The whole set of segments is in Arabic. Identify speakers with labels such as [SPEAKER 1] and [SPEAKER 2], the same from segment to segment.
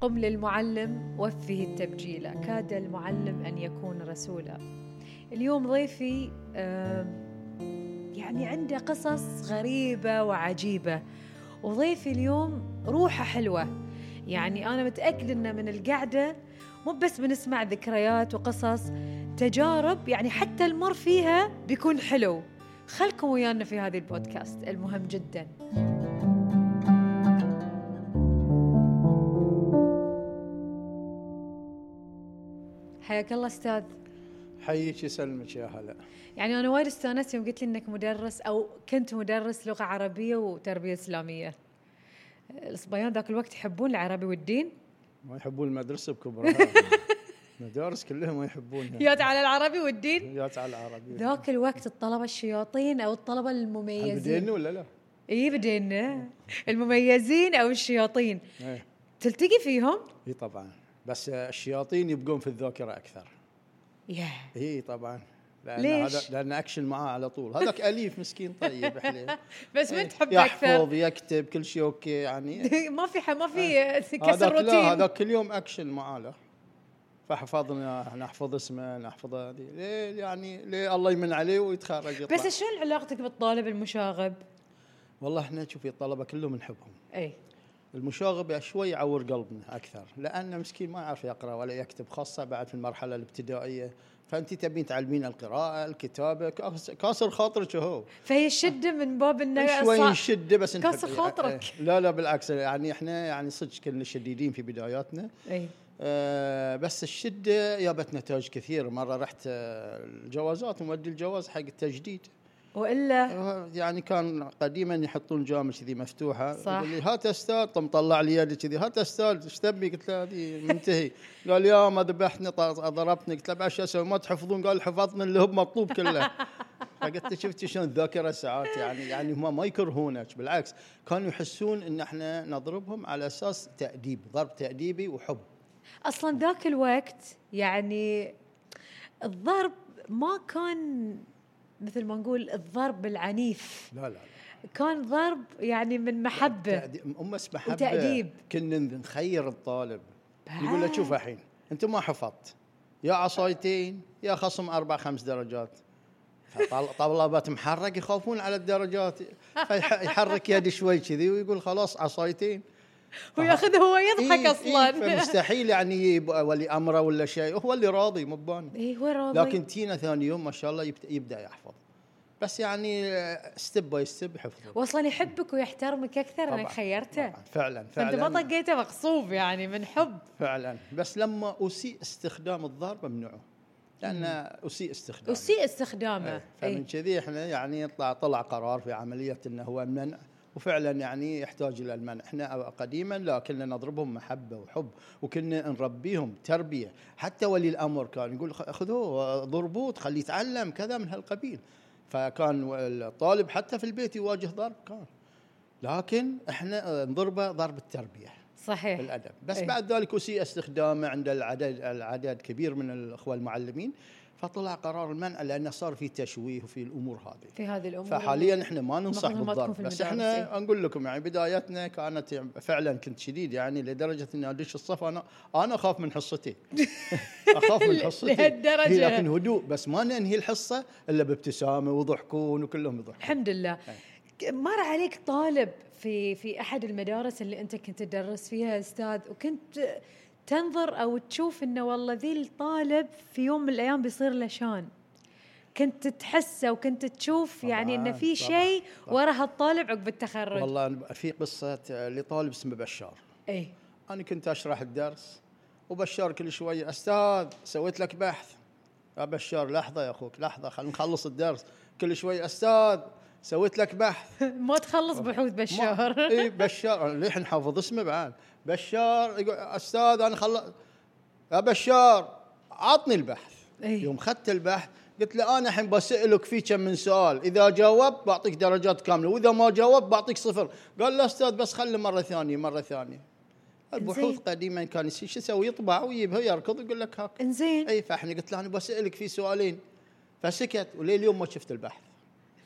[SPEAKER 1] قم للمعلم وفه التبجيل كاد المعلم أن يكون رسولا اليوم ضيفي آه، يعني عنده قصص غريبة وعجيبة وضيفي اليوم روحه حلوة يعني أنا متأكدة أنه من القعدة مو بس بنسمع ذكريات وقصص تجارب يعني حتى المر فيها بيكون حلو خلكم ويانا في هذه البودكاست المهم جدا حياك الله استاذ
[SPEAKER 2] حيك يسلمك يا هلا
[SPEAKER 1] يعني انا وايد استانست يوم قلت لي انك مدرس او كنت مدرس لغه عربيه وتربيه اسلاميه الصبيان ذاك الوقت يحبون العربي والدين
[SPEAKER 2] ما يحبون المدرسه بكبرها مدارس كلهم ما يحبونها
[SPEAKER 1] يا على العربي والدين
[SPEAKER 2] جات على العربي
[SPEAKER 1] ذاك الوقت الطلبه الشياطين او الطلبه المميزين
[SPEAKER 2] بدينا ولا لا؟
[SPEAKER 1] اي بدينا المميزين او الشياطين
[SPEAKER 2] ايه
[SPEAKER 1] تلتقي فيهم
[SPEAKER 2] اي طبعا بس الشياطين يبقون في الذاكره اكثر
[SPEAKER 1] يا
[SPEAKER 2] اي طبعا لان
[SPEAKER 1] ليش؟
[SPEAKER 2] هذا لان اكشن معاه على طول هذاك اليف مسكين طيب حليل
[SPEAKER 1] بس
[SPEAKER 2] إيه.
[SPEAKER 1] من تحب اكثر
[SPEAKER 2] يحفظ يكتب كل شيء اوكي يعني
[SPEAKER 1] ما في ح- ما في كسر
[SPEAKER 2] إيه. هذاك لا
[SPEAKER 1] روتين
[SPEAKER 2] هذاك كل يوم اكشن معاه له فحفظنا نحفظ اسمه نحفظ هذه ليه يعني ليه الله يمن عليه ويتخرج يطلع
[SPEAKER 1] بس شلون علاقتك بالطالب المشاغب؟ إيه.
[SPEAKER 2] والله احنا شوفي الطلبه كلهم نحبهم
[SPEAKER 1] اي
[SPEAKER 2] المشاغب شوي يعور قلبنا اكثر لانه مسكين ما يعرف يقرا ولا يكتب خاصه بعد في المرحله الابتدائيه فانت تبين تعلمين القراءه الكتابه كاس- كاسر خاطرك هو
[SPEAKER 1] فهي الشده من باب انه
[SPEAKER 2] إيه، شوي
[SPEAKER 1] صع-
[SPEAKER 2] نشده بس نحب-
[SPEAKER 1] كاسر خاطرك.
[SPEAKER 2] إيه. لا لا بالعكس يعني احنا يعني صدق كنا شديدين في بداياتنا
[SPEAKER 1] اي
[SPEAKER 2] آه، بس الشده جابت نتائج كثير مره رحت آه، الجوازات ومودي الجواز حق التجديد
[SPEAKER 1] والا
[SPEAKER 2] يعني كان قديما يحطون جامج كذي مفتوحه
[SPEAKER 1] صح.
[SPEAKER 2] يقول لي هات استاذ طم طلع لي يدي كذي هات استاذ ايش تبي؟ قلت له هذه منتهي قال يا ما ذبحتني ط- ضربتني قلت له بعد شو اسوي ما تحفظون قال حفظنا اللي هو مطلوب كله فقلت له شفتي شلون الذاكره ساعات يعني يعني هم ما يكرهونك بالعكس كانوا يحسون ان احنا نضربهم على اساس تاديب ضرب تاديبي وحب
[SPEAKER 1] اصلا ذاك الوقت يعني الضرب ما كان مثل ما نقول الضرب العنيف
[SPEAKER 2] لا لا
[SPEAKER 1] كان ضرب يعني من محبه
[SPEAKER 2] تأديب امس محبه
[SPEAKER 1] وتأديب.
[SPEAKER 2] كنا نخير الطالب
[SPEAKER 1] بعد.
[SPEAKER 2] نقول له شوف الحين انت ما حفظت يا عصايتين يا خصم اربع خمس درجات فطل- طلبات محرك يخافون على الدرجات فيحرك يده شوي كذي ويقول خلاص عصايتين
[SPEAKER 1] وياخذه هو يضحك
[SPEAKER 2] إيه، إيه،
[SPEAKER 1] اصلا
[SPEAKER 2] فمستحيل يعني يب- ولي امره ولا شيء هو اللي راضي مو بباني
[SPEAKER 1] اي إيه، هو راضي
[SPEAKER 2] لكن تينا ثاني يوم ما شاء الله يبت- يبدا يحفظ بس يعني ستيب باي ستيب حفظه
[SPEAKER 1] واصلا يحبك ويحترمك اكثر انك
[SPEAKER 2] طبعاً،
[SPEAKER 1] خيرته
[SPEAKER 2] طبعاً. فعلا
[SPEAKER 1] فانت ما
[SPEAKER 2] فعلا
[SPEAKER 1] طقيته مغصوب يعني من حب
[SPEAKER 2] فعلا بس لما اسيء استخدام الضرب ممنوعه لان اسيء استخدامه
[SPEAKER 1] وسيء استخدامه
[SPEAKER 2] إيه،
[SPEAKER 1] أي.
[SPEAKER 2] فمن كذي احنا يعني طلع طلع قرار في عمليه انه هو منع وفعلا يعني يحتاج الى المنع احنا قديما لا كنا نضربهم محبه وحب وكنا نربيهم تربيه حتى ولي الامر كان يقول خ- خذوه ضربوه خليه يتعلم كذا من هالقبيل فكان الطالب حتى في البيت يواجه ضرب كان لكن احنا آه، نضربه ضرب التربيه
[SPEAKER 1] إيه، صحيح
[SPEAKER 2] الادب بس
[SPEAKER 1] إيه.
[SPEAKER 2] بعد ذلك اسيء استخدامه عند العدد العدد كبير من الاخوه المعلمين فطلع قرار المنع لانه صار في تشويه وفي الامور هذه
[SPEAKER 1] في هذه الامور
[SPEAKER 2] فحاليا احنا ما ننصح
[SPEAKER 1] المفروض ما تكون
[SPEAKER 2] بالضرب
[SPEAKER 1] في
[SPEAKER 2] بس
[SPEAKER 1] المدارس،
[SPEAKER 2] احنا نقول لكم يعني بدايتنا كانت يعني فعلا كنت شديد يعني لدرجه اني ادش الصف انا انا اخاف من حصتي اخاف من حصتي
[SPEAKER 1] لهالدرجة.
[SPEAKER 2] هي لكن هدوء بس ما ننهي الحصه الا بابتسامه وضحكون وكلهم يضحكون
[SPEAKER 1] الحمد لله
[SPEAKER 2] طيب.
[SPEAKER 1] ك- مر عليك طالب في في احد المدارس اللي انت كنت تدرس فيها استاذ وكنت تنظر او تشوف انه والله ذي الطالب في يوم من الايام بيصير له شان كنت تحسه وكنت تشوف
[SPEAKER 2] طبعاً،
[SPEAKER 1] يعني انه في
[SPEAKER 2] طبعاً،
[SPEAKER 1] شيء
[SPEAKER 2] طبعاً.
[SPEAKER 1] ورا هالطالب عقب التخرج
[SPEAKER 2] والله أنا في قصه آه، لطالب اسمه بشار
[SPEAKER 1] اي
[SPEAKER 2] أنا كنت أشرح الدرس وبشار كل شوية أستاذ سويت لك بحث يا بشار لحظة يا أخوك لحظة خلينا نخلص الدرس كل شوية أستاذ سويت لك بحث
[SPEAKER 1] ما تخلص بحوث بالشهر
[SPEAKER 2] إي إيه، بشار أنا للحين حافظ اسمه بعد بشار يقول أستاذ أنا خلص يا بشار عطني البحث
[SPEAKER 1] إي.
[SPEAKER 2] يوم أخذت البحث قلت له أنا الحين بسألك في كم من سؤال إذا جاوبت بعطيك درجات كاملة وإذا ما جاوبت بعطيك صفر قال لا أستاذ بس خلي مرة ثانية مرة ثانية البحوث
[SPEAKER 1] إنزين.
[SPEAKER 2] قديما كان يصير شو يسوي يطبع ويجيبها يركض يقول لك هاك
[SPEAKER 1] انزين
[SPEAKER 2] اي فاحنا قلت له انا بسالك في سؤالين فسكت ولليوم ما شفت البحث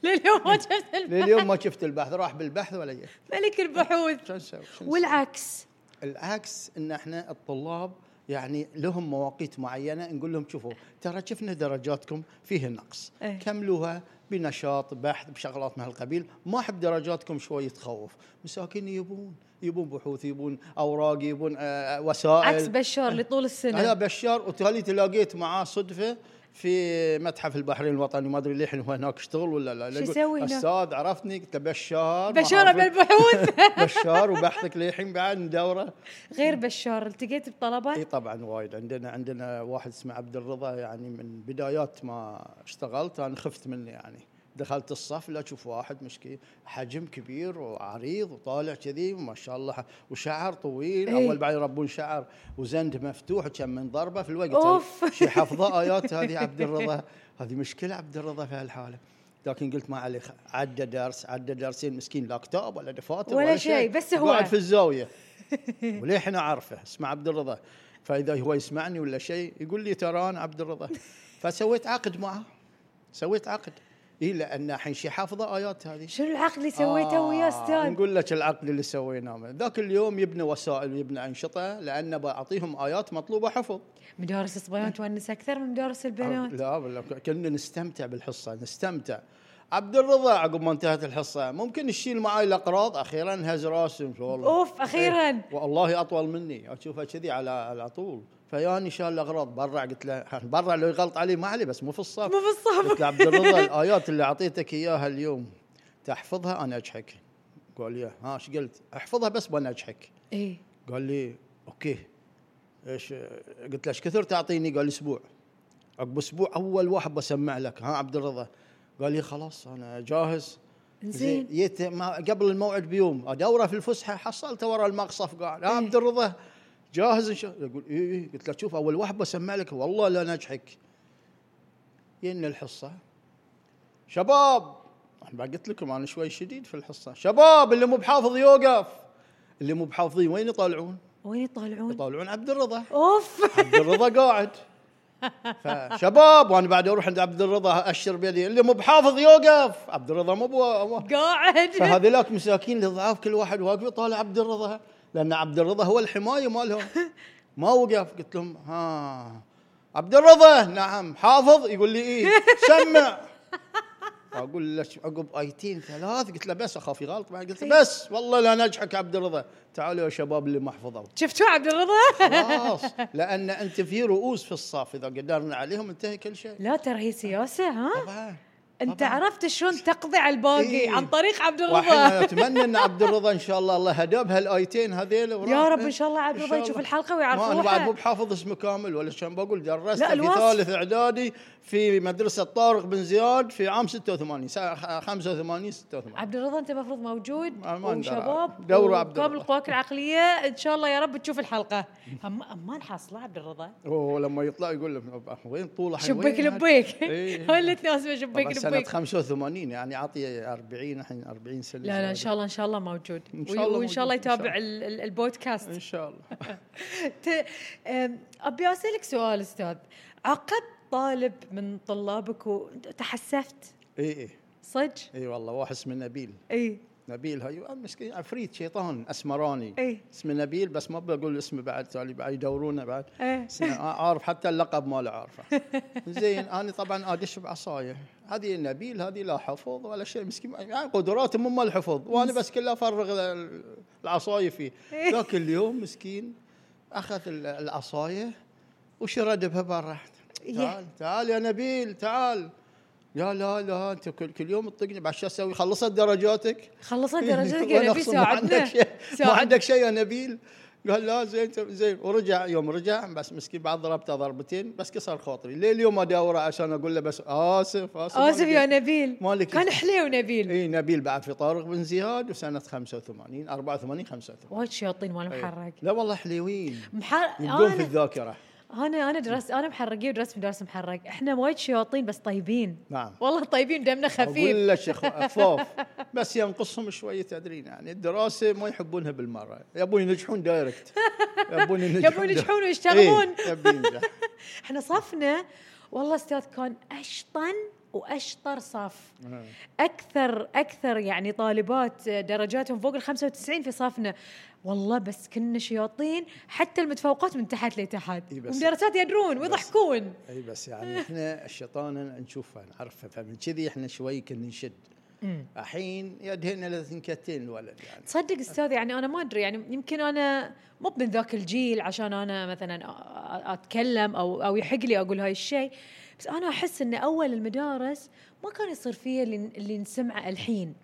[SPEAKER 1] لليوم ما
[SPEAKER 2] إيه.
[SPEAKER 1] شفت الب-
[SPEAKER 2] لليوم ما شفت البحث راح بالبحث ولا جه
[SPEAKER 1] ملك البحوث
[SPEAKER 2] إيه. شو نسوي شو نسوي؟
[SPEAKER 1] والعكس
[SPEAKER 2] العكس ان احنا الطلاب يعني لهم مواقيت معينه نقول لهم شوفوا ترى شفنا درجاتكم فيها نقص
[SPEAKER 1] إيه.
[SPEAKER 2] كملوها بنشاط بحث بشغلات من هالقبيل ما احب درجاتكم شوي تخوف مساكين يبون يبون بحوث يبون اوراق يبون آه، وسائل
[SPEAKER 1] عكس بشار لطول السنه
[SPEAKER 2] هذا بشار وتالي تلاقيت معاه صدفه في متحف البحرين الوطني ما ادري للحين هو هناك اشتغل ولا لا
[SPEAKER 1] شو
[SPEAKER 2] يقول،
[SPEAKER 1] يسوي هناك؟
[SPEAKER 2] استاذ عرفتني قلت له بشار ما
[SPEAKER 1] بشار
[SPEAKER 2] أعرفك.
[SPEAKER 1] بالبحوث
[SPEAKER 2] بشار وبحثك للحين بعد ندوره
[SPEAKER 1] غير بشار التقيت
[SPEAKER 2] اي
[SPEAKER 1] بطلبه
[SPEAKER 2] طبعا وايد عندنا عندنا واحد اسمه عبد الرضا يعني من بدايات ما اشتغلت انا خفت منه يعني دخلت الصف لا اشوف واحد مشكي حجم كبير وعريض وطالع كذي ما شاء الله وشعر طويل
[SPEAKER 1] إي.
[SPEAKER 2] اول بعد يربون شعر وزند مفتوح كم من ضربه في الوقت
[SPEAKER 1] أوف.
[SPEAKER 2] شي حافظه ايات هذه عبد الرضا هذه مشكله عبد الرضا في هالحاله لكن قلت ما عليه خ- عدى درس عدى درسين مسكين لا كتاب ولا دفاتر
[SPEAKER 1] ولا شيء، بس هو.
[SPEAKER 2] قاعد في الزاويه وللحين اعرفه اسمه عبد الرضا فاذا هو يسمعني ولا شيء يقول لي ترى انا عبد الرضا فسويت عقد معه سويت عقد اي لان الحين شي حافظه ايات هذه
[SPEAKER 1] شنو العقل اللي سويته
[SPEAKER 2] آه،
[SPEAKER 1] ويا استاذ
[SPEAKER 2] نقول لك العقد اللي سويناه ذاك اليوم يبنى وسائل ويبنى انشطه لان بعطيهم ايات مطلوبه حفظ
[SPEAKER 1] مدارس الصبيان تونس اكثر من مدارس البنات
[SPEAKER 2] لا ولا كنا نستمتع بالحصه نستمتع عبد الرضا عقب ما انتهت الحصه ممكن تشيل معاي الاقراض اخيرا هز راسي والله
[SPEAKER 1] اوف اخيرا
[SPEAKER 2] إيه، والله اطول مني اشوفه كذي على على طول فياني شال الاغراض برع قلت له برع لو يغلط علي ما علي بس مو في الصف
[SPEAKER 1] مو بالصف
[SPEAKER 2] قلت له عبد الرضا الايات اللي اعطيتك اياها اليوم تحفظها انا اجحك قال لي ها ايش قلت؟ احفظها بس وانا اجحك
[SPEAKER 1] اي
[SPEAKER 2] قال لي اوكي ايش قلت له ايش كثر تعطيني؟ قال لي اسبوع عقب اسبوع اول واحد بسمع لك ها عبد الرضا قال لي خلاص انا جاهز
[SPEAKER 1] زين.
[SPEAKER 2] جيت ما- قبل الموعد بيوم ادوره في الفسحه حصلته ورا المقصف قاعد ها
[SPEAKER 1] إيه.
[SPEAKER 2] عبد الرضا جاهز ان شاء الله يقول اي اي قلت له شوف اول واحد بسمع لك والله لا نجحك ين الحصه شباب انا قلت لكم انا شوي شديد في الحصه شباب اللي مو بحافظ يوقف اللي مو بحافظين وين يطالعون؟
[SPEAKER 1] وين يطالعون
[SPEAKER 2] يطالعون عبد الرضا
[SPEAKER 1] اوف
[SPEAKER 2] عبد الرضا قاعد فشباب وانا بعد اروح عند عبد الرضا اشر بيدي اللي مو بحافظ يوقف عبد الرضا مو بو...
[SPEAKER 1] قاعد
[SPEAKER 2] فهذيلاك مساكين الضعاف كل واحد واقف يطالع عبد الرضا لان عبد الرضا هو الحمايه مالهم ما وقف قلت لهم ها عبد الرضا نعم حافظ يقول لي ايه سمع اقول لك عقب ايتين ثلاث قلت له بس اخاف يغلط بعد قلت له بس والله لا نجحك عبد الرضا تعالوا يا شباب اللي ما حفظوا
[SPEAKER 1] شفتوا عبد الرضا
[SPEAKER 2] خلاص لان انت في رؤوس في الصف اذا قدرنا عليهم انتهى كل شيء
[SPEAKER 1] لا ترى هي سياسه ها
[SPEAKER 2] طبعاً.
[SPEAKER 1] انت
[SPEAKER 2] طبعاً.
[SPEAKER 1] عرفت شلون تقضي على الباقي
[SPEAKER 2] إيه.
[SPEAKER 1] عن طريق عبد
[SPEAKER 2] واحنا
[SPEAKER 1] الرضا
[SPEAKER 2] نتمنى ان عبد الرضا ان شاء الله الله هداه بهالايتين هذيل وراح.
[SPEAKER 1] يا رب ان شاء الله عبد
[SPEAKER 2] إيه، إن
[SPEAKER 1] الرضا يشوف
[SPEAKER 2] شاء الله.
[SPEAKER 1] الحلقه
[SPEAKER 2] ما انا بعد مو
[SPEAKER 1] ويعرفوها
[SPEAKER 2] بحافظ اسمه كامل ولا كان بقول درست
[SPEAKER 1] لا،
[SPEAKER 2] في
[SPEAKER 1] الوصف.
[SPEAKER 2] ثالث اعدادي في مدرسه طارق بن زياد في عام 86 ساعة 85 86
[SPEAKER 1] عبد الرضا انت المفروض موجود
[SPEAKER 2] ما- ما ندري.
[SPEAKER 1] وشباب
[SPEAKER 2] دورة عبد
[SPEAKER 1] قبل
[SPEAKER 2] الرضا.
[SPEAKER 1] القواك العقليه ان شاء الله يا رب تشوف الحلقه اما اما حاصله عبد الرضا
[SPEAKER 2] ولما يطلع يقول له وين طوله
[SPEAKER 1] شبيك
[SPEAKER 2] وين هاد؟
[SPEAKER 1] لبيك
[SPEAKER 2] إيه.
[SPEAKER 1] هو اللي تناسبه
[SPEAKER 2] طبعاً
[SPEAKER 1] شبيك
[SPEAKER 2] سنه
[SPEAKER 1] لبيك
[SPEAKER 2] 85 يعني اعطي 40 الحين 40 سنه
[SPEAKER 1] لا لا ان شاء الله ان شاء الله موجود
[SPEAKER 2] يعني. إن شاء الله
[SPEAKER 1] وان شاء الله
[SPEAKER 2] موجود، إن شاء
[SPEAKER 1] يتابع
[SPEAKER 2] الله.
[SPEAKER 1] ال- ال- البودكاست
[SPEAKER 2] ان شاء الله
[SPEAKER 1] ت- أم، ابي اسالك سؤال استاذ عقد طالب من طلابك وتحسفت
[SPEAKER 2] اي اي
[SPEAKER 1] صج
[SPEAKER 2] اي إيه، والله واحد اسمه نبيل
[SPEAKER 1] اي
[SPEAKER 2] نبيل هاي آه، مسكين عفريت شيطان اسمراني
[SPEAKER 1] إيه.
[SPEAKER 2] اسمه نبيل بس ما بقول اسمه بعد تالي بعد يدورونه بعد
[SPEAKER 1] إيه.
[SPEAKER 2] اسمه آه، عارف حتى اللقب ماله عارفه زين انا طبعا ادش بعصايه هذه نبيل هذه لا حفظ ولا شيء مسكين يعني قدراته مو مال الحفظ وانا بس كله افرغ ال- العصايه فيه
[SPEAKER 1] إيه.
[SPEAKER 2] ذاك اليوم مسكين اخذ ال- العصايه وشرد بها برا
[SPEAKER 1] يه.
[SPEAKER 2] تعال تعال يا نبيل تعال يا لا لا انت كل, كل يوم تطقني بعد شو اسوي خلصت درجاتك
[SPEAKER 1] خلصت درجتك
[SPEAKER 2] ولا
[SPEAKER 1] يا نبي
[SPEAKER 2] أقصد ما عندك
[SPEAKER 1] ساعدنا
[SPEAKER 2] شيء- ما
[SPEAKER 1] ساعد-
[SPEAKER 2] عندك شيء يا نبيل قال لا زين تم- زين ورجع يوم رجع بس مسكين بعد ضربته ضربتين بس كسر خاطري ليه اليوم اداوره عشان اقول له بس اسف اسف
[SPEAKER 1] اسف يا
[SPEAKER 2] نبيل
[SPEAKER 1] نبيل
[SPEAKER 2] مالك
[SPEAKER 1] كان حليو نبيل
[SPEAKER 2] اي نبيل بعد في طارق بن زياد وسنه 85 84 85
[SPEAKER 1] وايد شياطين مال
[SPEAKER 2] إي.
[SPEAKER 1] محرق
[SPEAKER 2] أيوه. لا والله حلوين
[SPEAKER 1] آه، محرق
[SPEAKER 2] يبقون في
[SPEAKER 1] انا
[SPEAKER 2] الذاكره
[SPEAKER 1] انا انا درست انا محرقيه ودرست في مدارس محرق احنا وايد شياطين بس طيبين
[SPEAKER 2] نعم
[SPEAKER 1] والله طيبين دمنا خفيف
[SPEAKER 2] اقول لك أخو- خوف بس ينقصهم شويه تدرين يعني الدراسه ما يحبونها بالمره يبون ينجحون دايركت يبون
[SPEAKER 1] يبون
[SPEAKER 2] ينجحون دايركت.
[SPEAKER 1] ينجحون ويشتغلون
[SPEAKER 2] إيه، يبون ينجح.
[SPEAKER 1] احنا صفنا والله استاذ كان اشطن واشطر صف
[SPEAKER 2] نعم.
[SPEAKER 1] اكثر اكثر يعني طالبات درجاتهم فوق ال 95 في صفنا والله بس كنا شياطين حتى المتفوقات من تحت لتحت
[SPEAKER 2] إي بس-
[SPEAKER 1] المدرسات يدرون
[SPEAKER 2] بس-
[SPEAKER 1] ويضحكون
[SPEAKER 2] اي بس يعني احنا الشيطان نشوفها نعرفها فمن كذي احنا شوي كنا نشد
[SPEAKER 1] مم.
[SPEAKER 2] الحين يدهنا لثنكتين الولد يعني
[SPEAKER 1] تصدق استاذ يعني انا ما ادري يعني يمكن انا مو من ذاك الجيل عشان انا مثلا أ- أ- اتكلم او او يحق لي اقول هاي الشيء بس انا احس ان اول المدارس ما كان يصير فيها اللي, اللي نسمعه الحين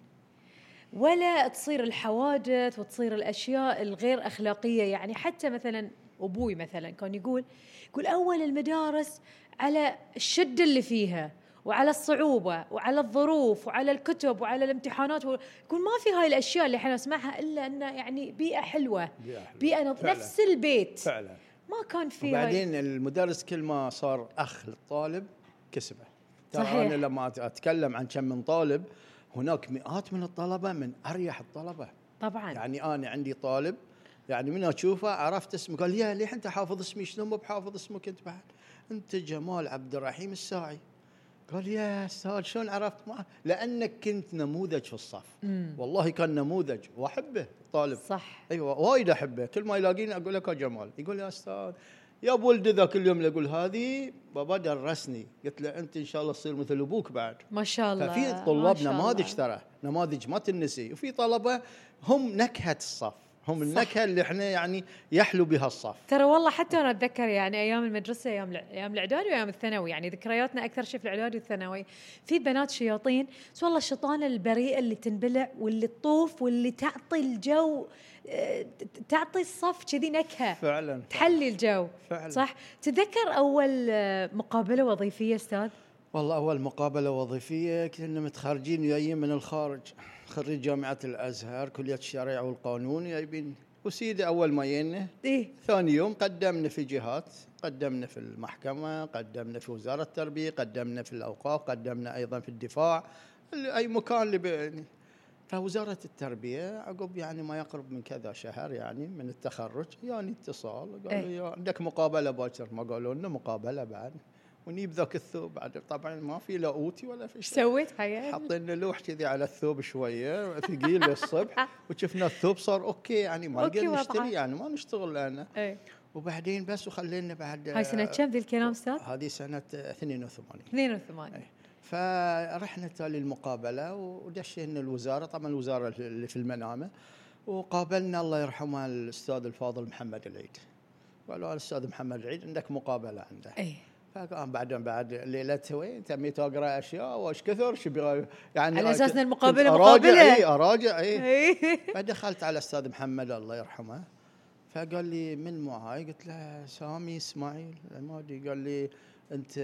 [SPEAKER 1] ولا تصير الحوادث وتصير الاشياء الغير اخلاقيه يعني حتى مثلا ابوي مثلا كان يقول يقول اول المدارس على الشده اللي فيها وعلى الصعوبه وعلى الظروف وعلى الكتب وعلى الامتحانات و- يقول ما في هاي الاشياء اللي احنا نسمعها الا انه يعني بيئه حلوه
[SPEAKER 2] بيئة حلوة.
[SPEAKER 1] بيئه نظ-
[SPEAKER 2] فعلاً.
[SPEAKER 1] نفس البيت
[SPEAKER 2] فعلا
[SPEAKER 1] ما كان في هاي-
[SPEAKER 2] وبعدين المدرس كل ما صار اخ للطالب كسبه ترى
[SPEAKER 1] صحيح.
[SPEAKER 2] انا لما أت- اتكلم عن كم من طالب هناك مئات من الطلبه من اريح الطلبه
[SPEAKER 1] طبعا
[SPEAKER 2] يعني انا عندي طالب يعني من اشوفه عرفت اسمه قال يا ليه انت حافظ اسمي شلون مو بحافظ اسمك انت بعد انت جمال عبد الرحيم الساعي قال يا استاذ شلون عرفت ما لانك كنت نموذج في الصف
[SPEAKER 1] مم.
[SPEAKER 2] والله كان نموذج واحبه الطالب
[SPEAKER 1] صح
[SPEAKER 2] ايوه وايد احبه كل ما يلاقيني اقول لك يا جمال يقول يا استاذ يا ابو ولدي ذاك اليوم اللي اقول هذه بابا درسني قلت له انت ان شاء الله تصير مثل ابوك بعد
[SPEAKER 1] ما شاء الله
[SPEAKER 2] ففي
[SPEAKER 1] ما
[SPEAKER 2] طلاب
[SPEAKER 1] شاء
[SPEAKER 2] نماذج
[SPEAKER 1] الله.
[SPEAKER 2] ترى نماذج ما تنسي وفي طلبه هم نكهه الصف هم النكهه اللي احنا يعني يحلو بها الصف
[SPEAKER 1] ترى والله حتى انا اتذكر يعني ايام المدرسه ايام الع- ايام الاعدادي وايام الثانوي يعني ذكرياتنا اكثر شيء في الاعدادي والثانوي في بنات شياطين بس والله الشيطانه البريئه اللي تنبلع واللي تطوف واللي تعطي الجو آه، ت- ت- تعطي الصف كذي نكهه
[SPEAKER 2] فعلا
[SPEAKER 1] تحلي الجو
[SPEAKER 2] فعلا
[SPEAKER 1] صح تتذكر اول آه، مقابله وظيفيه استاذ
[SPEAKER 2] والله اول مقابله وظيفيه كنا متخرجين جايين من الخارج خريج جامعه الازهر كليه الشريعه والقانون جايبين وسيدي اول ما ينا
[SPEAKER 1] ايه
[SPEAKER 2] ثاني يوم قدمنا في جهات قدمنا في المحكمة قدمنا في وزارة التربية قدمنا في الأوقاف قدمنا أيضا في الدفاع ال- أي مكان اللي ب- يعني فوزارة التربية عقب يعني ما يقرب من كذا شهر يعني من التخرج يعني اتصال قالوا
[SPEAKER 1] إيه.
[SPEAKER 2] يا عندك مقابلة باكر ما قالوا لنا مقابلة بعد ونجيب ذاك الثوب بعد طبعا ما في لا اوتي ولا في
[SPEAKER 1] ايش
[SPEAKER 2] شيء
[SPEAKER 1] سويت حياتي
[SPEAKER 2] حطينا لوح كذي على الثوب شويه ثقيل للصبح وشفنا الثوب صار اوكي يعني ما
[SPEAKER 1] أوكي
[SPEAKER 2] نقدر
[SPEAKER 1] وضعه.
[SPEAKER 2] نشتري يعني ما نشتغل لانه
[SPEAKER 1] ايه
[SPEAKER 2] وبعدين بس وخلينا بعد
[SPEAKER 1] هاي سنه كم ذي الكلام استاذ
[SPEAKER 2] هذه سنة 82
[SPEAKER 1] 82
[SPEAKER 2] فرحنا تالي المقابلة ودشينا الوزارة طبعا الوزارة اللي في المنامة وقابلنا الله يرحمه الأستاذ الفاضل محمد العيد قالوا الأستاذ محمد العيد عندك مقابلة عنده
[SPEAKER 1] ايه
[SPEAKER 2] فقام بعدين بعد ليلتها وين تميت اقرا اشياء وايش كثر شو بيغ- يعني
[SPEAKER 1] على
[SPEAKER 2] أنا
[SPEAKER 1] أساس إن
[SPEAKER 2] كنت-
[SPEAKER 1] المقابلة
[SPEAKER 2] كنت
[SPEAKER 1] مقابلة.
[SPEAKER 2] اراجع اي اراجع اي
[SPEAKER 1] ايه
[SPEAKER 2] فدخلت على استاذ محمد الله يرحمه فقال لي من معاي؟ قلت له سامي اسماعيل ما ادري قال لي انت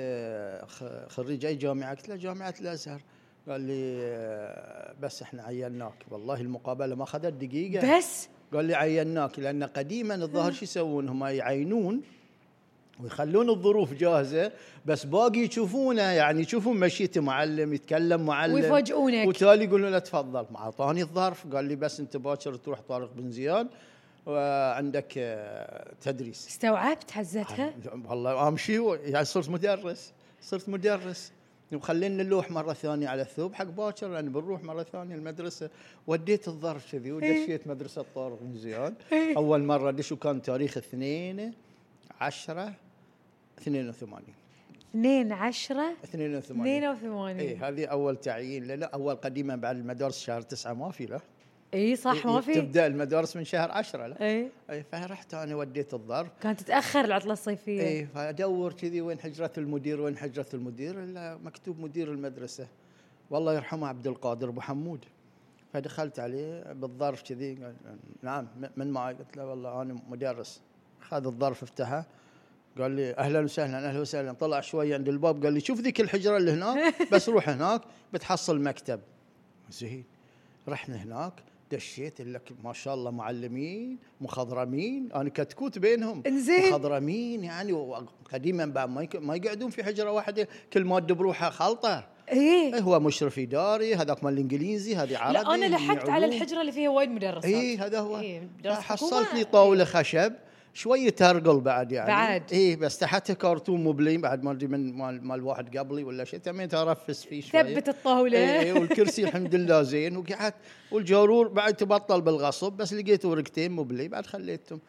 [SPEAKER 2] خ- خريج اي جامعه؟ قلت له جامعه الازهر قال لي آه، بس احنا عيناك والله المقابله ما اخذت دقيقه
[SPEAKER 1] بس
[SPEAKER 2] قال لي عيناك لان قديما الظاهر شو يسوون هم يعينون ويخلون الظروف جاهزه بس باقي يشوفونه يعني يشوفون مشيته معلم يتكلم معلم
[SPEAKER 1] ويفاجئونك.
[SPEAKER 2] وتالي يقولون له تفضل مع اعطاني الظرف قال لي بس انت باكر تروح طارق بن زياد وعندك آه، تدريس
[SPEAKER 1] استوعبت حزتها
[SPEAKER 2] والله امشي و- يعني صرت مدرس صرت مدرس وخلينا نلوح مره ثانيه على الثوب حق باكر لان بنروح مره ثانيه المدرسه وديت الظرف كذي ودشيت مدرسه طارق بن زياد
[SPEAKER 1] إيه.
[SPEAKER 2] اول مره ادش وكان تاريخ 2 10 82
[SPEAKER 1] 2 10
[SPEAKER 2] 82
[SPEAKER 1] 82
[SPEAKER 2] اي إيه، هذه اول تعيين لنا اول قديما بعد المدارس شهر تسعة ما في له
[SPEAKER 1] اي إيه، صح
[SPEAKER 2] إيه،
[SPEAKER 1] ما في
[SPEAKER 2] تبدا المدارس من شهر 10 لا
[SPEAKER 1] اي
[SPEAKER 2] اي فرحت انا وديت الظرف
[SPEAKER 1] كانت تتاخر العطله الصيفيه
[SPEAKER 2] ايه فادور كذي وين حجره المدير وين حجره المدير الا مكتوب مدير المدرسه والله يرحمه عبد القادر ابو حمود فدخلت عليه بالظرف كذي قال نعم م- من معي؟ قلت له والله انا مدرس خذ الظرف افتحه قال لي اهلا وسهلا اهلا وسهلا طلع شوي عند الباب قال لي شوف ذيك الحجره اللي هناك بس روح هناك بتحصل مكتب زين رحنا هناك دشيت لك ما شاء الله معلمين مخضرمين انا كتكوت بينهم
[SPEAKER 1] إنزين.
[SPEAKER 2] مخضرمين يعني وقديما بعد ما يك- ما يقعدون في حجره واحده كل ماده بروحها خلطه
[SPEAKER 1] ايه
[SPEAKER 2] إيه هو مشرف اداري هذاك مال الانجليزي هذه عربي
[SPEAKER 1] لا انا
[SPEAKER 2] هذه
[SPEAKER 1] لحقت على
[SPEAKER 2] علوم. إيه،
[SPEAKER 1] الحجره اللي فيها وايد مدرسات
[SPEAKER 2] اي هذا هو
[SPEAKER 1] إيه، مدرسة
[SPEAKER 2] حصلت لي
[SPEAKER 1] حكومة.
[SPEAKER 2] طاوله خشب شوي ترقل بعد يعني
[SPEAKER 1] بعد.
[SPEAKER 2] اي بس تحتها كرتون مبلي بعد ما ادري من مال مال واحد قبلي ولا شيء تمين ارفس فيه شوي
[SPEAKER 1] ثبت الطاوله
[SPEAKER 2] إيه إيه والكرسي الحمد لله زين وقعدت والجارور بعد تبطل بالغصب بس لقيت ورقتين مبلي بعد خليتهم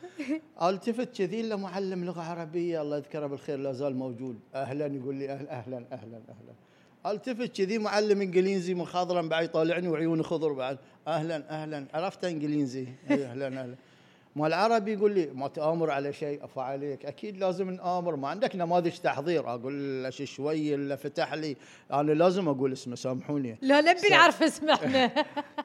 [SPEAKER 2] التفت كذي الا معلم لغه عربيه الله يذكره بالخير لا زال موجود اهلا يقول لي اهلا اهلا اهلا اهلا التفت كذي معلم انجليزي مخضرم بعد يطالعني وعيونه خضر بعد اهلا اهلا عرفت انجليزي إيه، اهلا اهلا ما العربي يقول لي ما تآمر على شيء أفا عليك أكيد لازم نآمر ما عندك نماذج تحضير أقول له شي شوي اللي فتح لي أنا لازم أقول اسمه سامحوني
[SPEAKER 1] لا نبي نعرف اسمه احنا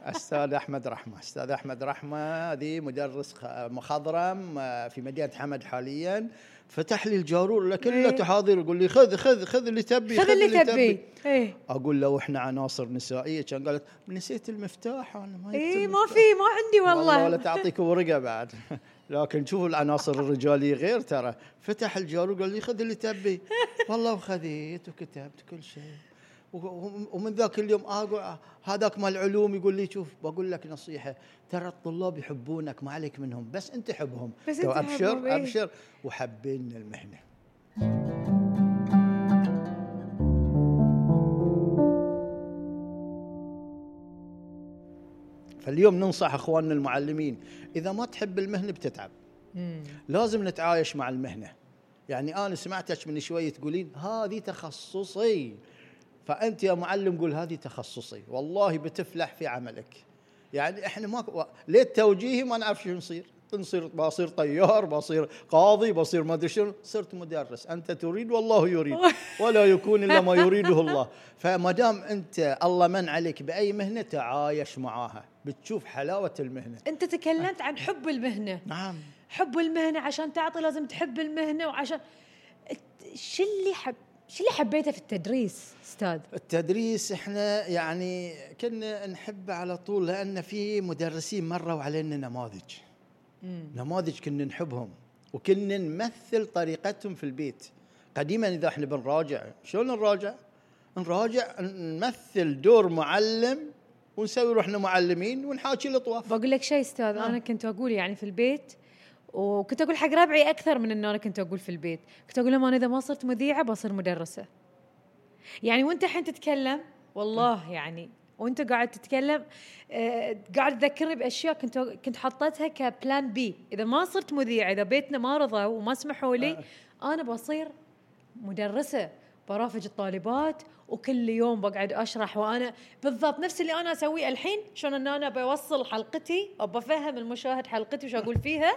[SPEAKER 2] استاذ احمد رحمه استاذ احمد رحمه ذي مدرس خ- مخضرم آه، في مدينه حمد حاليا فتح لي الجارور له كله
[SPEAKER 1] إيه.
[SPEAKER 2] تحاضير يقول لي خذ خذ خذ اللي تبي
[SPEAKER 1] خذ اللي تبي ايه
[SPEAKER 2] اقول له احنا عناصر نسائيه كان قالت نسيت المفتاح انا ما جبت
[SPEAKER 1] ايه ما
[SPEAKER 2] المفتاح."
[SPEAKER 1] في ما عندي والله
[SPEAKER 2] ولا تعطيك ورقه بعد لكن شوفوا العناصر الرجاليه غير ترى فتح الجار وقال لي خذ اللي تبي والله وخذيت وكتبت كل شيء و- و- ومن ذاك اليوم اقعد هذاك مال العلوم يقول لي شوف بقول لك نصيحه ترى الطلاب يحبونك ما عليك منهم بس انت حبهم
[SPEAKER 1] بس
[SPEAKER 2] تو
[SPEAKER 1] أنت
[SPEAKER 2] ابشر
[SPEAKER 1] حبهم، إيه.
[SPEAKER 2] ابشر وحبينا المهنه فاليوم ننصح اخواننا المعلمين اذا ما تحب المهنه بتتعب
[SPEAKER 1] مم.
[SPEAKER 2] لازم نتعايش مع المهنه يعني انا سمعتك من شوي تقولين هذه تخصصي فانت يا معلم قول هذه تخصصي والله بتفلح في عملك يعني احنا ما ليه توجيهي ما نعرف شو نصير نصير بصير طيار بصير قاضي بصير ما ادري شنو صرت مدرس انت تريد والله يريد ولا يكون الا ما يريده الله فما دام انت الله من عليك باي مهنه تعايش معاها بتشوف حلاوه المهنه
[SPEAKER 1] انت تكلمت عن حب المهنه
[SPEAKER 2] نعم
[SPEAKER 1] حب المهنه عشان تعطي لازم تحب المهنه وعشان ات- شو اللي حب شو اللي حبيته في التدريس استاذ
[SPEAKER 2] التدريس احنا يعني كنا نحبه على طول لان في مدرسين مروا علينا نماذج نماذج كنا نحبهم وكنا نمثل طريقتهم في البيت قديما اذا احنا بنراجع شلون نراجع؟ نراجع نمثل دور معلم ونسوي روحنا معلمين ونحاكي الاطواف
[SPEAKER 1] بقول لك شيء استاذ
[SPEAKER 2] نعم.
[SPEAKER 1] انا كنت اقول يعني في البيت وكنت اقول حق ربعي اكثر من انه انا كنت اقول في البيت كنت اقول لهم انا اذا ما صرت مذيعه بصير مدرسه يعني وانت الحين تتكلم والله يعني وانت قاعد تتكلم آه، قاعد تذكرني باشياء كنت كنت حطيتها كبلان بي اذا ما صرت مذيعه اذا بيتنا ما رضوا وما سمحوا لي انا بصير مدرسه برافج الطالبات وكل يوم بقعد اشرح وانا بالضبط نفس اللي انا اسويه الحين شلون ان انا بوصل حلقتي وبفهم المشاهد حلقتي وش اقول فيها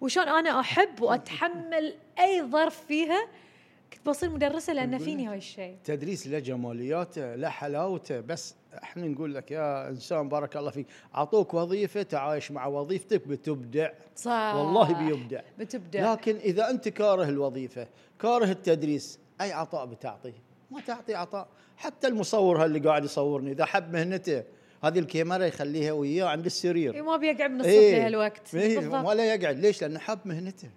[SPEAKER 1] وشلون انا احب واتحمل اي ظرف فيها كنت بصير مدرسه لان فيني هاي الشيء
[SPEAKER 2] التدريس له جمالياته له حلاوته بس احنا نقول لك يا انسان بارك الله فيك اعطوك وظيفه تعايش مع وظيفتك بتبدع
[SPEAKER 1] صح
[SPEAKER 2] والله بيبدع
[SPEAKER 1] بتبدع
[SPEAKER 2] لكن اذا انت كاره الوظيفه كاره التدريس اي عطاء بتعطيه ما تعطي عطاء حتى المصور هاللي قاعد يصورني اذا حب مهنته هذه الكاميرا يخليها وياه عند السرير
[SPEAKER 1] إيه ما بيقعد من الصبح
[SPEAKER 2] إيه.
[SPEAKER 1] لهالوقت
[SPEAKER 2] إيه،
[SPEAKER 1] بالضبط
[SPEAKER 2] ولا يقعد ليش لانه حاب مهنته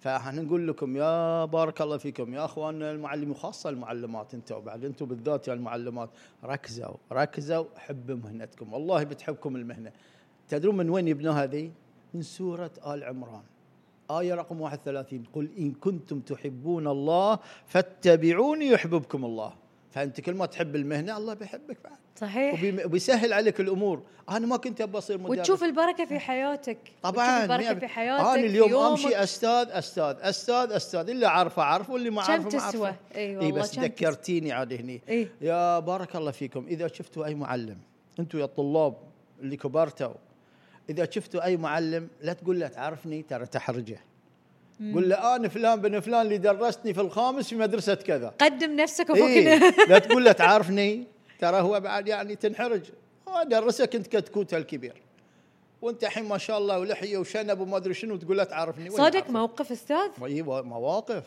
[SPEAKER 2] فاحنا نقول لكم يا بارك الله فيكم يا اخواننا المعلمين وخاصه المعلمات انتم وبعد انتم بالذات يا المعلمات ركزوا ركزوا حبوا مهنتكم والله بتحبكم المهنه تدرون من وين يبنوها ذي؟ من سوره ال عمران آية رقم 31 قل إن كنتم تحبون الله فاتبعوني يحببكم الله فأنت كل ما تحب المهنة الله بيحبك بعد
[SPEAKER 1] صحيح
[SPEAKER 2] وبي- وبيسهل عليك الأمور أنا ما كنت أبغى أصير مدرس
[SPEAKER 1] وتشوف البركه في حياتك
[SPEAKER 2] طبعا
[SPEAKER 1] وتشوف البركه
[SPEAKER 2] مية-
[SPEAKER 1] في حياتك
[SPEAKER 2] انا
[SPEAKER 1] في
[SPEAKER 2] اليوم
[SPEAKER 1] يومك.
[SPEAKER 2] امشي استاذ استاذ استاذ استاذ اللي عارفه عارفه واللي ما
[SPEAKER 1] كم
[SPEAKER 2] عارفه ما
[SPEAKER 1] تسوى
[SPEAKER 2] عارفه
[SPEAKER 1] اي
[SPEAKER 2] اي
[SPEAKER 1] والله
[SPEAKER 2] بس
[SPEAKER 1] كم تسوى؟
[SPEAKER 2] ذكرتيني عاد هني
[SPEAKER 1] اي
[SPEAKER 2] يا بارك الله فيكم اذا شفتوا اي معلم انتم يا الطلاب اللي كبرتوا اذا شفتوا اي معلم لا تقول له تعرفني ترى تحرجه قل له انا فلان بن فلان اللي درستني في الخامس في مدرسه كذا
[SPEAKER 1] قدم نفسك
[SPEAKER 2] إيه
[SPEAKER 1] وفكنا
[SPEAKER 2] لا تقول له تعرفني ترى هو بعد يعني تنحرج هو درسك انت كتكوت الكبير وانت الحين ما شاء الله ولحيه وشنب وما ادري شنو تقول له تعرفني وين
[SPEAKER 1] صادق
[SPEAKER 2] أعرفك؟
[SPEAKER 1] موقف استاذ
[SPEAKER 2] إيه، مواقف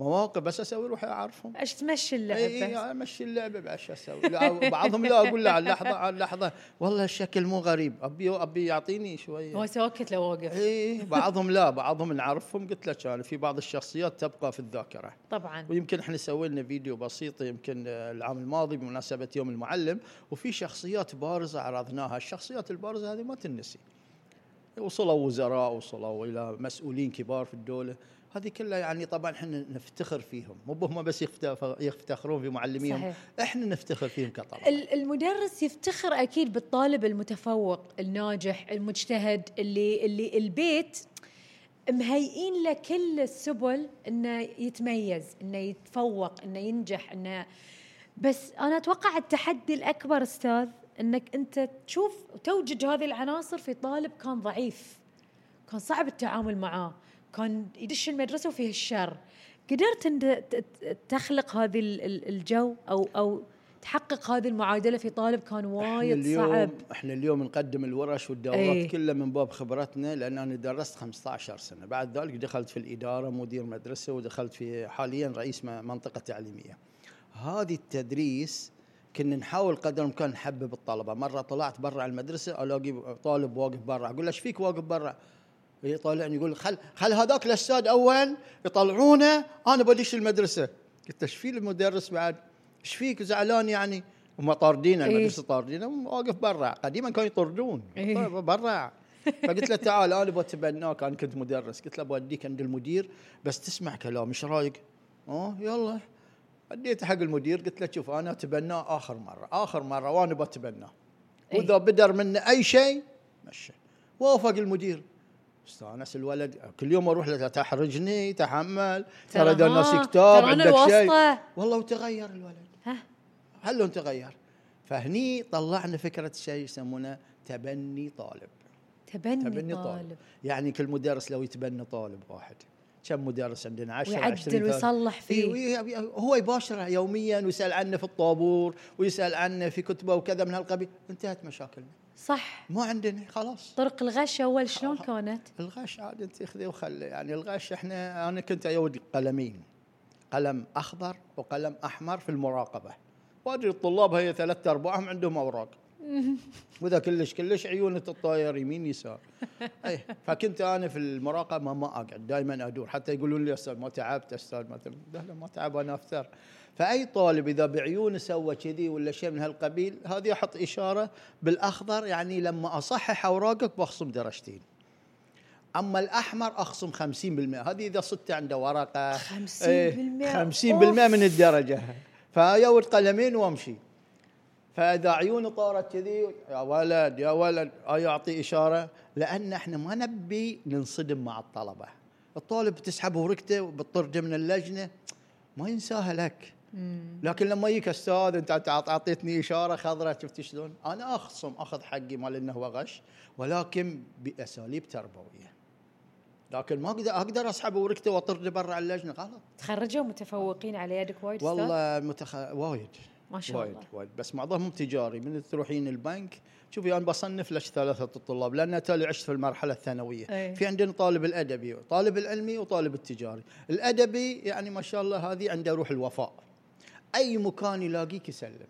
[SPEAKER 2] مواقف بس اسوي روحي إيه، اعرفهم
[SPEAKER 1] ايش تمشي اللعبه
[SPEAKER 2] اي اي امشي اللعبه بعد شو اسوي لا، بعضهم لا اقول له على اللحظه على اللحظه والله الشكل مو غريب ابي ابي يعطيني شويه
[SPEAKER 1] هو ساكت لو وقف
[SPEAKER 2] اي بعضهم لا بعضهم نعرفهم قلت لك انا في بعض الشخصيات تبقى في الذاكره
[SPEAKER 1] طبعا
[SPEAKER 2] ويمكن احنا سوينا فيديو بسيط يمكن آه، العام الماضي بمناسبه يوم المعلم وفي شخصيات بارزه عرضناها، الشخصيات البارزه هذه ما تنسي. وصلوا وزراء وصلوا الى مسؤولين كبار في الدوله هذه كلها يعني طبعا احنا نفتخر فيهم مو هم بس يفتخ- يفتخرون في معلميهم
[SPEAKER 1] صحيح.
[SPEAKER 2] احنا نفتخر فيهم كطلبه
[SPEAKER 1] ال- المدرس يفتخر اكيد بالطالب المتفوق الناجح المجتهد اللي اللي البيت مهيئين له كل السبل انه يتميز انه يتفوق انه ينجح انه بس انا اتوقع التحدي الاكبر استاذ انك انت تشوف وتوجد هذه العناصر في طالب كان ضعيف كان صعب التعامل معاه كان يدش المدرسه وفيه الشر قدرت انت ت- ت- تخلق هذه ال- ال- الجو او او تحقق هذه المعادله في طالب كان
[SPEAKER 2] إحنا
[SPEAKER 1] وايد
[SPEAKER 2] اليوم
[SPEAKER 1] صعب
[SPEAKER 2] احنا اليوم نقدم الورش والدورات
[SPEAKER 1] إيه.
[SPEAKER 2] ايه؟ كلها من باب خبرتنا لان انا درست 15 سنه بعد ذلك دخلت في الاداره مدير مدرسه ودخلت في حاليا رئيس م- منطقه تعليميه هذه التدريس كنا نحاول قدر الامكان نحبب الطلبه مره طلعت برا المدرسه الاقي طالب واقف برا اقول له ايش فيك واقف برا يطالعني يقول خل خل هذاك الاستاذ اول يطلعونه انا بديش المدرسه قلت ايش في المدرس بعد ايش فيك زعلان يعني هم طاردين
[SPEAKER 1] إيه.
[SPEAKER 2] المدرسه طاردين واقف برا قديما كانوا يطردون
[SPEAKER 1] إيه.
[SPEAKER 2] طيب برا فقلت له تعال انا بتبناك انا كنت مدرس قلت له بوديك عند المدير بس تسمع كلام ايش رايك؟ اه يلا اديته حق المدير قلت له شوف انا اتبناه اخر مره اخر مره وانا بتبناه
[SPEAKER 1] إيه.
[SPEAKER 2] واذا بدر منه اي شيء مشى وافق المدير استانس الولد كل يوم اروح له تحرجني تحمل ترى ذا الناس
[SPEAKER 1] ها،
[SPEAKER 2] كتاب
[SPEAKER 1] ترى أنا
[SPEAKER 2] عندك شيء
[SPEAKER 1] الواسطة.
[SPEAKER 2] والله وتغير الولد
[SPEAKER 1] ها
[SPEAKER 2] هل لون تغير فهني طلعنا فكره شيء يسمونه تبني طالب
[SPEAKER 1] تبني,
[SPEAKER 2] تبني طالب يعني كل مدرس لو يتبنى طالب واحد كم مدرس عندنا 10
[SPEAKER 1] ويعدل ويصلح فيه.
[SPEAKER 2] إيه، هو يباشره يوميا ويسال عنه في الطابور ويسال عنه في كتبه وكذا من هالقبيل انتهت مشاكلنا
[SPEAKER 1] صح
[SPEAKER 2] ما عندنا خلاص
[SPEAKER 1] طرق الغش اول شلون كانت؟
[SPEAKER 2] الغش عاد انت خذي وخلي يعني الغش احنا انا كنت ايود قلمين قلم اخضر وقلم احمر في المراقبه وادري الطلاب هي ثلاثة ارباعهم عندهم اوراق واذا كلش كلش عيون تطاير يمين يسار اي إيه، فكنت انا في المراقبه ما اقعد دائما ادور حتى يقولون لي يا استاذ ما تعبت يا استاذ مثلا لا لا ما تعب انا افتر فاي طالب اذا بعيونه سوى كذي ولا شيء من هالقبيل هذه احط اشاره بالاخضر يعني لما اصحح اوراقك بخصم درجتين اما الاحمر اخصم 50% هذه اذا صدت عنده ورقه
[SPEAKER 1] 50%
[SPEAKER 2] إيه، 50%
[SPEAKER 1] أوف.
[SPEAKER 2] من الدرجه فياول قلمين وامشي فاذا عيونه طارت كذي يا ولد يا ولد أي يعطي اشاره لان احنا ما نبي ننصدم مع الطلبه الطالب بتسحب ورقته وبتطرده من اللجنه ما ينساها لك لكن لما يجيك استاذ انت أنت أعط- اعطيتني اشاره خضراء شفت شلون؟ انا اخصم اخذ حقي مال انه هو غش ولكن باساليب تربويه. لكن ما اقدر اقدر اسحب ورقته واطرده برا اللجنه غلط.
[SPEAKER 1] تخرجوا متفوقين على يدك وايد أستاذ؟
[SPEAKER 2] والله متخ... وايد
[SPEAKER 1] ما شاء
[SPEAKER 2] وايد
[SPEAKER 1] الله.
[SPEAKER 2] وايد بس معظمهم تجاري من تروحين البنك شوفي انا بصنف لك ثلاثه الطلاب لان تالي عشت في المرحله الثانويه
[SPEAKER 1] أي.
[SPEAKER 2] في عندنا طالب الادبي طالب العلمي وطالب التجاري الادبي يعني ما شاء الله هذه عنده روح الوفاء اي مكان يلاقيك يسلم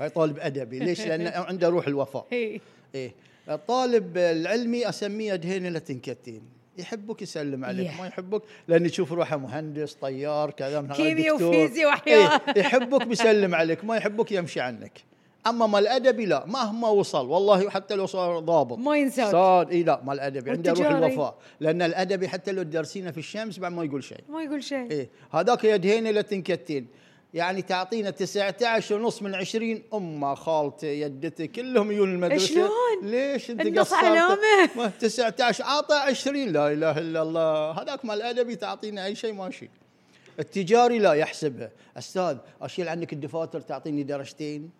[SPEAKER 2] هاي طالب ادبي ليش لان عنده روح الوفاء
[SPEAKER 1] إيه.
[SPEAKER 2] ايه الطالب العلمي اسميه دهينه لا تنكتين يحبك يسلم عليك
[SPEAKER 1] Yeah.
[SPEAKER 2] ما يحبك لان يشوف روحه مهندس طيار كذا من هذا
[SPEAKER 1] كيمياء
[SPEAKER 2] دكتور.
[SPEAKER 1] وفيزياء وأحياء.
[SPEAKER 2] إيه، يحبك بيسلم عليك ما يحبك يمشي عنك اما مال الادبي لا مهما وصل والله حتى لو صار ضابط
[SPEAKER 1] ما ينساك.
[SPEAKER 2] صار اي لا مال الادبي عنده روح
[SPEAKER 1] والتجاري.
[SPEAKER 2] الوفاء لان الادبي حتى لو درسينا في الشمس بعد ما يقول شيء
[SPEAKER 1] ما يقول شيء
[SPEAKER 2] ايه هذاك يدهينا لا تنكتين يعني تعطينا 19 ونص من 20 امه خالتي يدتي كلهم يجون المدرسه
[SPEAKER 1] شلون؟
[SPEAKER 2] ليش انت
[SPEAKER 1] النص
[SPEAKER 2] قصرت
[SPEAKER 1] علامة.
[SPEAKER 2] ما 19 عطى 20 لا اله الا الله هذاك مال ادبي تعطينا اي شيء ماشي التجاري لا يحسبها استاذ اشيل عنك الدفاتر تعطيني درجتين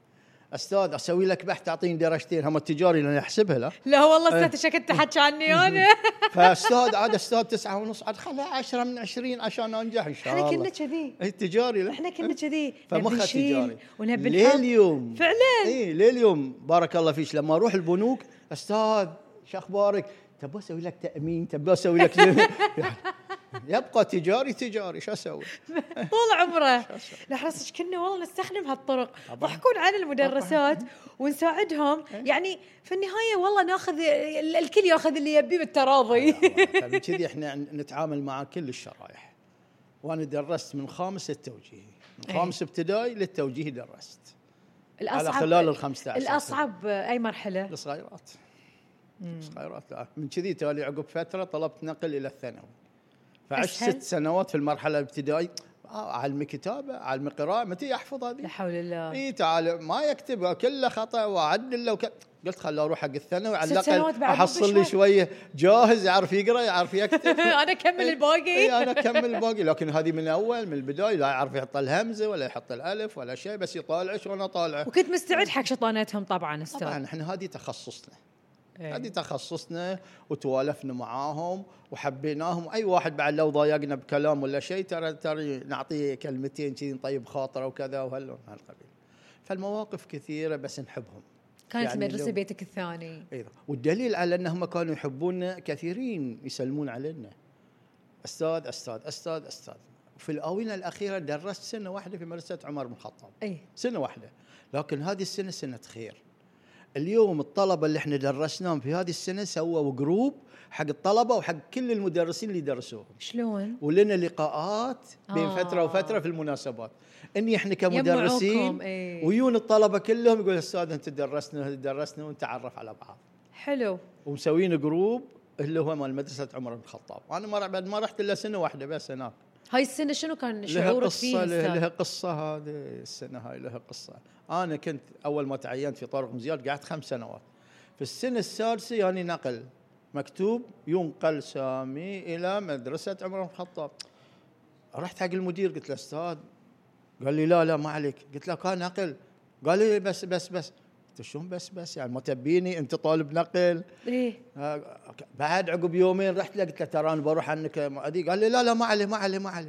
[SPEAKER 2] استاذ اسوي لك بحث تعطيني درجتين هم التجاري لا يحسبها لا
[SPEAKER 1] لا والله
[SPEAKER 2] إيه.
[SPEAKER 1] استاذ شكلت تحكي عني انا
[SPEAKER 2] فاستاذ عاد استاذ تسعة ونص عاد خلها 10 من 20 عشان انجح ان شاء
[SPEAKER 1] احنا
[SPEAKER 2] الله إيه،
[SPEAKER 1] كنا كذي
[SPEAKER 2] التجاري لا
[SPEAKER 1] احنا كنا كذي
[SPEAKER 2] فمخها تجاري
[SPEAKER 1] ونبي نحط.
[SPEAKER 2] لليوم
[SPEAKER 1] فعلاً.
[SPEAKER 2] اي لليوم بارك الله فيك لما اروح البنوك استاذ شو اخبارك؟ تبى اسوي لك تامين تبى اسوي لك يعني يبقى تجاري تجاري شو اسوي؟
[SPEAKER 1] طول عمره لحظة إيش كنا والله نستخدم هالطرق
[SPEAKER 2] طبعاً. إيه.
[SPEAKER 1] ضحكون على المدرسات ونساعدهم يعني في النهاية والله ناخذ ال- الكل ياخذ اللي يبيه بالتراضي
[SPEAKER 2] فمن كذي احنا نتعامل مع كل الشرائح وانا درست من خامس للتوجيهي من
[SPEAKER 1] أي.
[SPEAKER 2] خامس ابتدائي للتوجيهي درست على خلال ال 15 سنة. إيه.
[SPEAKER 1] الأصعب أي مرحلة
[SPEAKER 2] الصغيرات
[SPEAKER 1] مم.
[SPEAKER 2] خيرات لا من كذي تالي عقب فتره طلبت نقل الى الثانوي فعشت
[SPEAKER 1] أسهل؟
[SPEAKER 2] ست سنوات في المرحله الابتدائيه آه، اعلم كتابه اعلم قراءه متى احفظ
[SPEAKER 1] لا
[SPEAKER 2] هذه
[SPEAKER 1] حول الله
[SPEAKER 2] اي تعال ما يكتب كله خطا واعدل وك... قلت خل اروح حق الثانوي على
[SPEAKER 1] ست سنوات
[SPEAKER 2] الاقل
[SPEAKER 1] بعد
[SPEAKER 2] احصل
[SPEAKER 1] شوي.
[SPEAKER 2] لي شويه جاهز يعرف يقرا يعرف يكتب
[SPEAKER 1] انا
[SPEAKER 2] إيه.
[SPEAKER 1] اكمل
[SPEAKER 2] اي
[SPEAKER 1] الباقي
[SPEAKER 2] انا اكمل الباقي لكن هذه من الاول من البدايه لا يعرف يحط الهمزه ولا يحط الالف ولا شيء بس يطالع وانا طالعه
[SPEAKER 1] وكنت مستعد حق شطانتهم طبعا استاذ
[SPEAKER 2] طبعا احنا هذه تخصصنا
[SPEAKER 1] إيه.
[SPEAKER 2] هذه تخصصنا وتوالفنا معاهم وحبيناهم اي واحد بعد لو ضايقنا بكلام ولا شيء ترى ترى نعطيه كلمتين كذي نطيب خاطره وكذا وهال من هالقبيل فالمواقف كثيره بس نحبهم
[SPEAKER 1] كانت
[SPEAKER 2] يعني
[SPEAKER 1] المدرسه
[SPEAKER 2] لو-
[SPEAKER 1] بيتك الثاني
[SPEAKER 2] ايضا والدليل على انهم كانوا يحبوننا كثيرين يسلمون علينا استاذ استاذ استاذ استاذ في الاونه الاخيره درست سنه واحده في مدرسه عمر بن الخطاب
[SPEAKER 1] اي
[SPEAKER 2] سنه واحده لكن هذه السنه سنه خير اليوم الطلبه اللي احنا درسناهم في هذه السنه سووا جروب حق الطلبه وحق كل المدرسين اللي درسوهم
[SPEAKER 1] شلون؟
[SPEAKER 2] ولنا لقاءات بين
[SPEAKER 1] آه.
[SPEAKER 2] آه. فتره وفتره في المناسبات اني احنا كمدرسين
[SPEAKER 1] يجمعوكم، إيه.
[SPEAKER 2] ويون الطلبه كلهم يقول استاذ انت درسنا درسنا ونتعرف على بعض
[SPEAKER 1] حلو
[SPEAKER 2] ومسوين جروب اللي هو مال مدرسه عمر بن الخطاب انا ما بعد ما رحت الا سنه واحده بس هناك
[SPEAKER 1] هاي السنه شنو كان
[SPEAKER 2] لها
[SPEAKER 1] شعورك
[SPEAKER 2] قصه
[SPEAKER 1] فيه
[SPEAKER 2] لها, لها
[SPEAKER 1] استاذ؟
[SPEAKER 2] قصه هذه السنه هاي لها قصه انا كنت اول ما تعينت في طارق بن زياد قعدت خمس سنوات في السنه السادسه يعني نقل مكتوب ينقل سامي الى مدرسه عمر بن الخطاب رحت حق المدير قلت له استاذ قال لي لا لا ما عليك قلت له كان نقل قال لي بس بس بس قلت له شلون بس بس يعني ما تبيني انت طالب نقل
[SPEAKER 1] ايه
[SPEAKER 2] آه، بعد عقب يومين رحت له قلت له ترى انا بروح عنك مؤدي قال لي لا لا ما عليه ما عليه ما عليه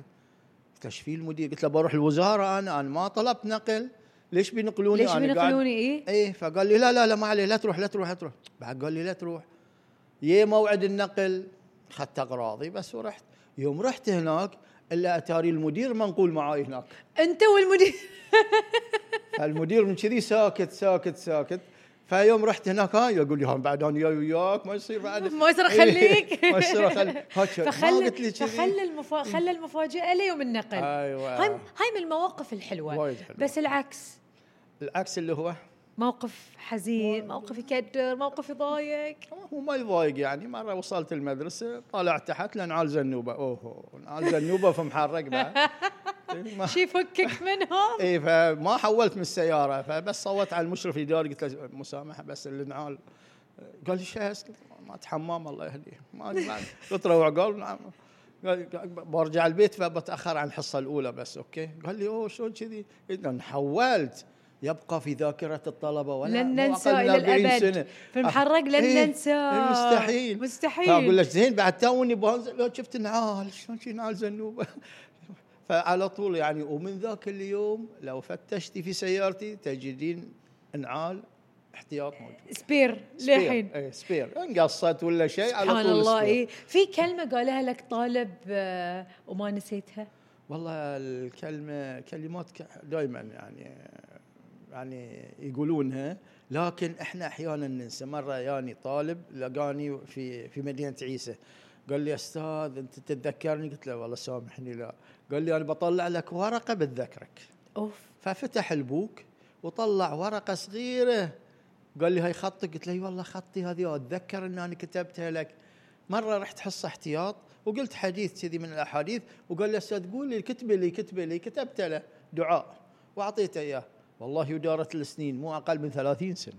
[SPEAKER 2] قلت له ايش في المدير؟ قلت له بروح الوزاره انا انا ما طلبت نقل ليش بينقلوني
[SPEAKER 1] ليش
[SPEAKER 2] أنا قاعد-
[SPEAKER 1] بينقلوني ايه؟
[SPEAKER 2] ايه فقال لي لا لا لا ما عليه لا تروح لا تروح لا تروح بعد قال لي لا تروح يي موعد النقل اخذت اغراضي بس ورحت يوم رحت هناك الا اتاري المدير منقول معاي هناك
[SPEAKER 1] انت والمدير
[SPEAKER 2] فالمدير من كذي ساكت ساكت ساكت فيوم رحت هناك ها يقول لي ها بعد انا جاي وياك ما يصير بعد
[SPEAKER 1] ما يصير أخليك.
[SPEAKER 2] ما يصير اخليك هاك ما
[SPEAKER 1] فخلى
[SPEAKER 2] قلت لي كذي
[SPEAKER 1] فخلى المفا... خلى المفاجاه ليوم النقل
[SPEAKER 2] أيوة.
[SPEAKER 1] هاي هاي من المواقف الحلوه
[SPEAKER 2] وايد حلوة.
[SPEAKER 1] بس العكس
[SPEAKER 2] العكس اللي هو
[SPEAKER 1] موقف حزين موقف يكدر موقف يضايق
[SPEAKER 2] هو ما يضايق يعني مره وصلت المدرسه طالعت تحت لان عال زنوبه اوه عال زنوبه في محرق بعد ما-
[SPEAKER 1] شي فكك منهم
[SPEAKER 2] اي فما حولت من السياره فبس صوت على المشرف الاداري قلت له مسامحه بس النعال قال لي شهس ما اتحمام الله يهديه ما ما- قلت له قال نعم قال قال برجع البيت فبتاخر عن الحصه الاولى بس اوكي قال لي اوه شلون كذي اذا حولت يبقى في ذاكره الطلبه ولا
[SPEAKER 1] لن
[SPEAKER 2] مو
[SPEAKER 1] ننسى
[SPEAKER 2] أقل من
[SPEAKER 1] الى
[SPEAKER 2] 40
[SPEAKER 1] الابد في المحرق لن
[SPEAKER 2] إيه،
[SPEAKER 1] ننسى
[SPEAKER 2] إيه، مستحيل فاقول
[SPEAKER 1] مستحيل
[SPEAKER 2] له زين بعد توني بنزل لو شفت نعال شلون شي نعال زنوبه فعلى طول يعني ومن ذاك اليوم لو فتشتي في سيارتي تجدين نعال احتياط موجود
[SPEAKER 1] سبير للحين
[SPEAKER 2] اي سبير ان قصت ولا شيء إيه. على طول
[SPEAKER 1] سبحان الله إيه.
[SPEAKER 2] سبير.
[SPEAKER 1] اي في كلمه قالها لك طالب آه، وما نسيتها
[SPEAKER 2] والله الكلمه كلمات دائما يعني يعني يقولونها لكن احنا احيانا ننسى مره ياني طالب لقاني في في مدينه عيسى قال لي استاذ انت تتذكرني قلت له والله سامحني لا قال لي انا بطلع لك ورقه بتذكرك
[SPEAKER 1] اوف
[SPEAKER 2] ففتح البوك وطلع ورقه صغيره قال لي هاي خطك قلت له "إي والله خطي هذه اتذكر ان انا كتبتها لك مره رحت حصه احتياط وقلت حديث كذي من الاحاديث وقال لي استاذ قول لي كتبي لي كتبي لي كتبته له دعاء واعطيته اياه والله ودارت السنين مو اقل من 30 سنه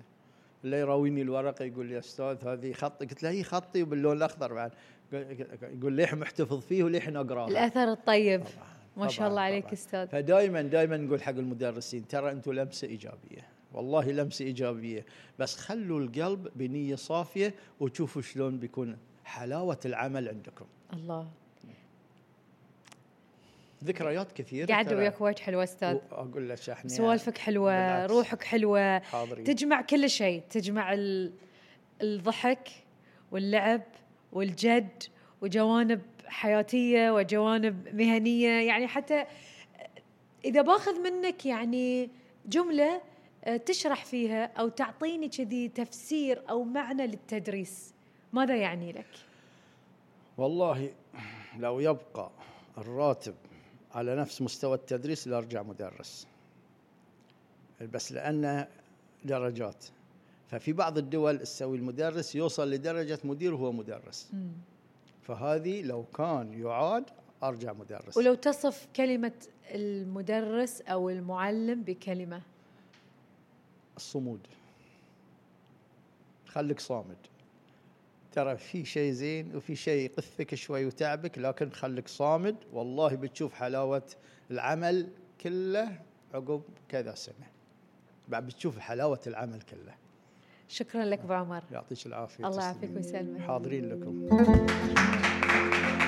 [SPEAKER 2] اللي يراويني الورقه يقول لي استاذ هذه خطي قلت له هي خطي وباللون الاخضر بعد قال- يقول ليح محتفظ فيه وليح اقراه
[SPEAKER 1] الاثر الطيب
[SPEAKER 2] طبعاً،
[SPEAKER 1] ما شاء
[SPEAKER 2] طبعاً،
[SPEAKER 1] الله عليك
[SPEAKER 2] طبعاً.
[SPEAKER 1] استاذ
[SPEAKER 2] فدائما دائما نقول حق المدرسين ترى انتم لمسه ايجابيه والله لمسه ايجابيه بس خلوا القلب بنيه صافيه وشوفوا شلون بيكون حلاوه العمل عندكم
[SPEAKER 1] الله
[SPEAKER 2] ذكريات كثيره
[SPEAKER 1] قاعده
[SPEAKER 2] ترى.
[SPEAKER 1] وياك وايد حلوه استاذ
[SPEAKER 2] اقول لك احنا
[SPEAKER 1] سوالفك حلوه
[SPEAKER 2] بالعكس.
[SPEAKER 1] روحك حلوه
[SPEAKER 2] حاضرين
[SPEAKER 1] تجمع كل شيء تجمع ال- الضحك واللعب والجد وجوانب حياتيه وجوانب مهنيه يعني حتى اذا باخذ منك يعني جمله آه، تشرح فيها او تعطيني كذي تفسير او معنى للتدريس ماذا يعني لك
[SPEAKER 2] والله لو يبقى الراتب على نفس مستوى التدريس لارجع مدرس بس لان درجات ففي بعض الدول تسوي المدرس يوصل لدرجه مدير وهو مدرس
[SPEAKER 1] مم.
[SPEAKER 2] فهذه لو كان يعاد ارجع مدرس
[SPEAKER 1] ولو تصف كلمة المدرس أو المعلم بكلمة
[SPEAKER 2] الصمود خليك صامد ترى في شيء زين وفي شيء يقثك شوي وتعبك لكن خليك صامد والله بتشوف حلاوة العمل كله عقب كذا سنة بعد بتشوف حلاوة العمل كله
[SPEAKER 1] شكرا لك أبو عمر
[SPEAKER 2] يعطيك العافية
[SPEAKER 1] الله يعافيك
[SPEAKER 2] تسلمين.
[SPEAKER 1] ويسلمك
[SPEAKER 2] حاضرين لكم